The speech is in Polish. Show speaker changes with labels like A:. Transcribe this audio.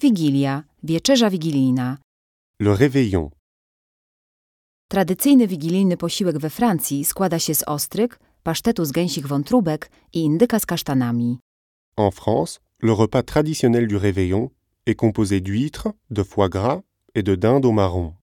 A: Wigilia, wieczerza wigilijna.
B: Le réveillon.
A: Tradycyjny wigilijny posiłek we Francji składa się z ostryk, pasztetu z gęsich wątróbek i indyka z kasztanami.
B: En France, le repas traditionnel du réveillon est composé d'huîtres, de foie gras et de dinde au marron.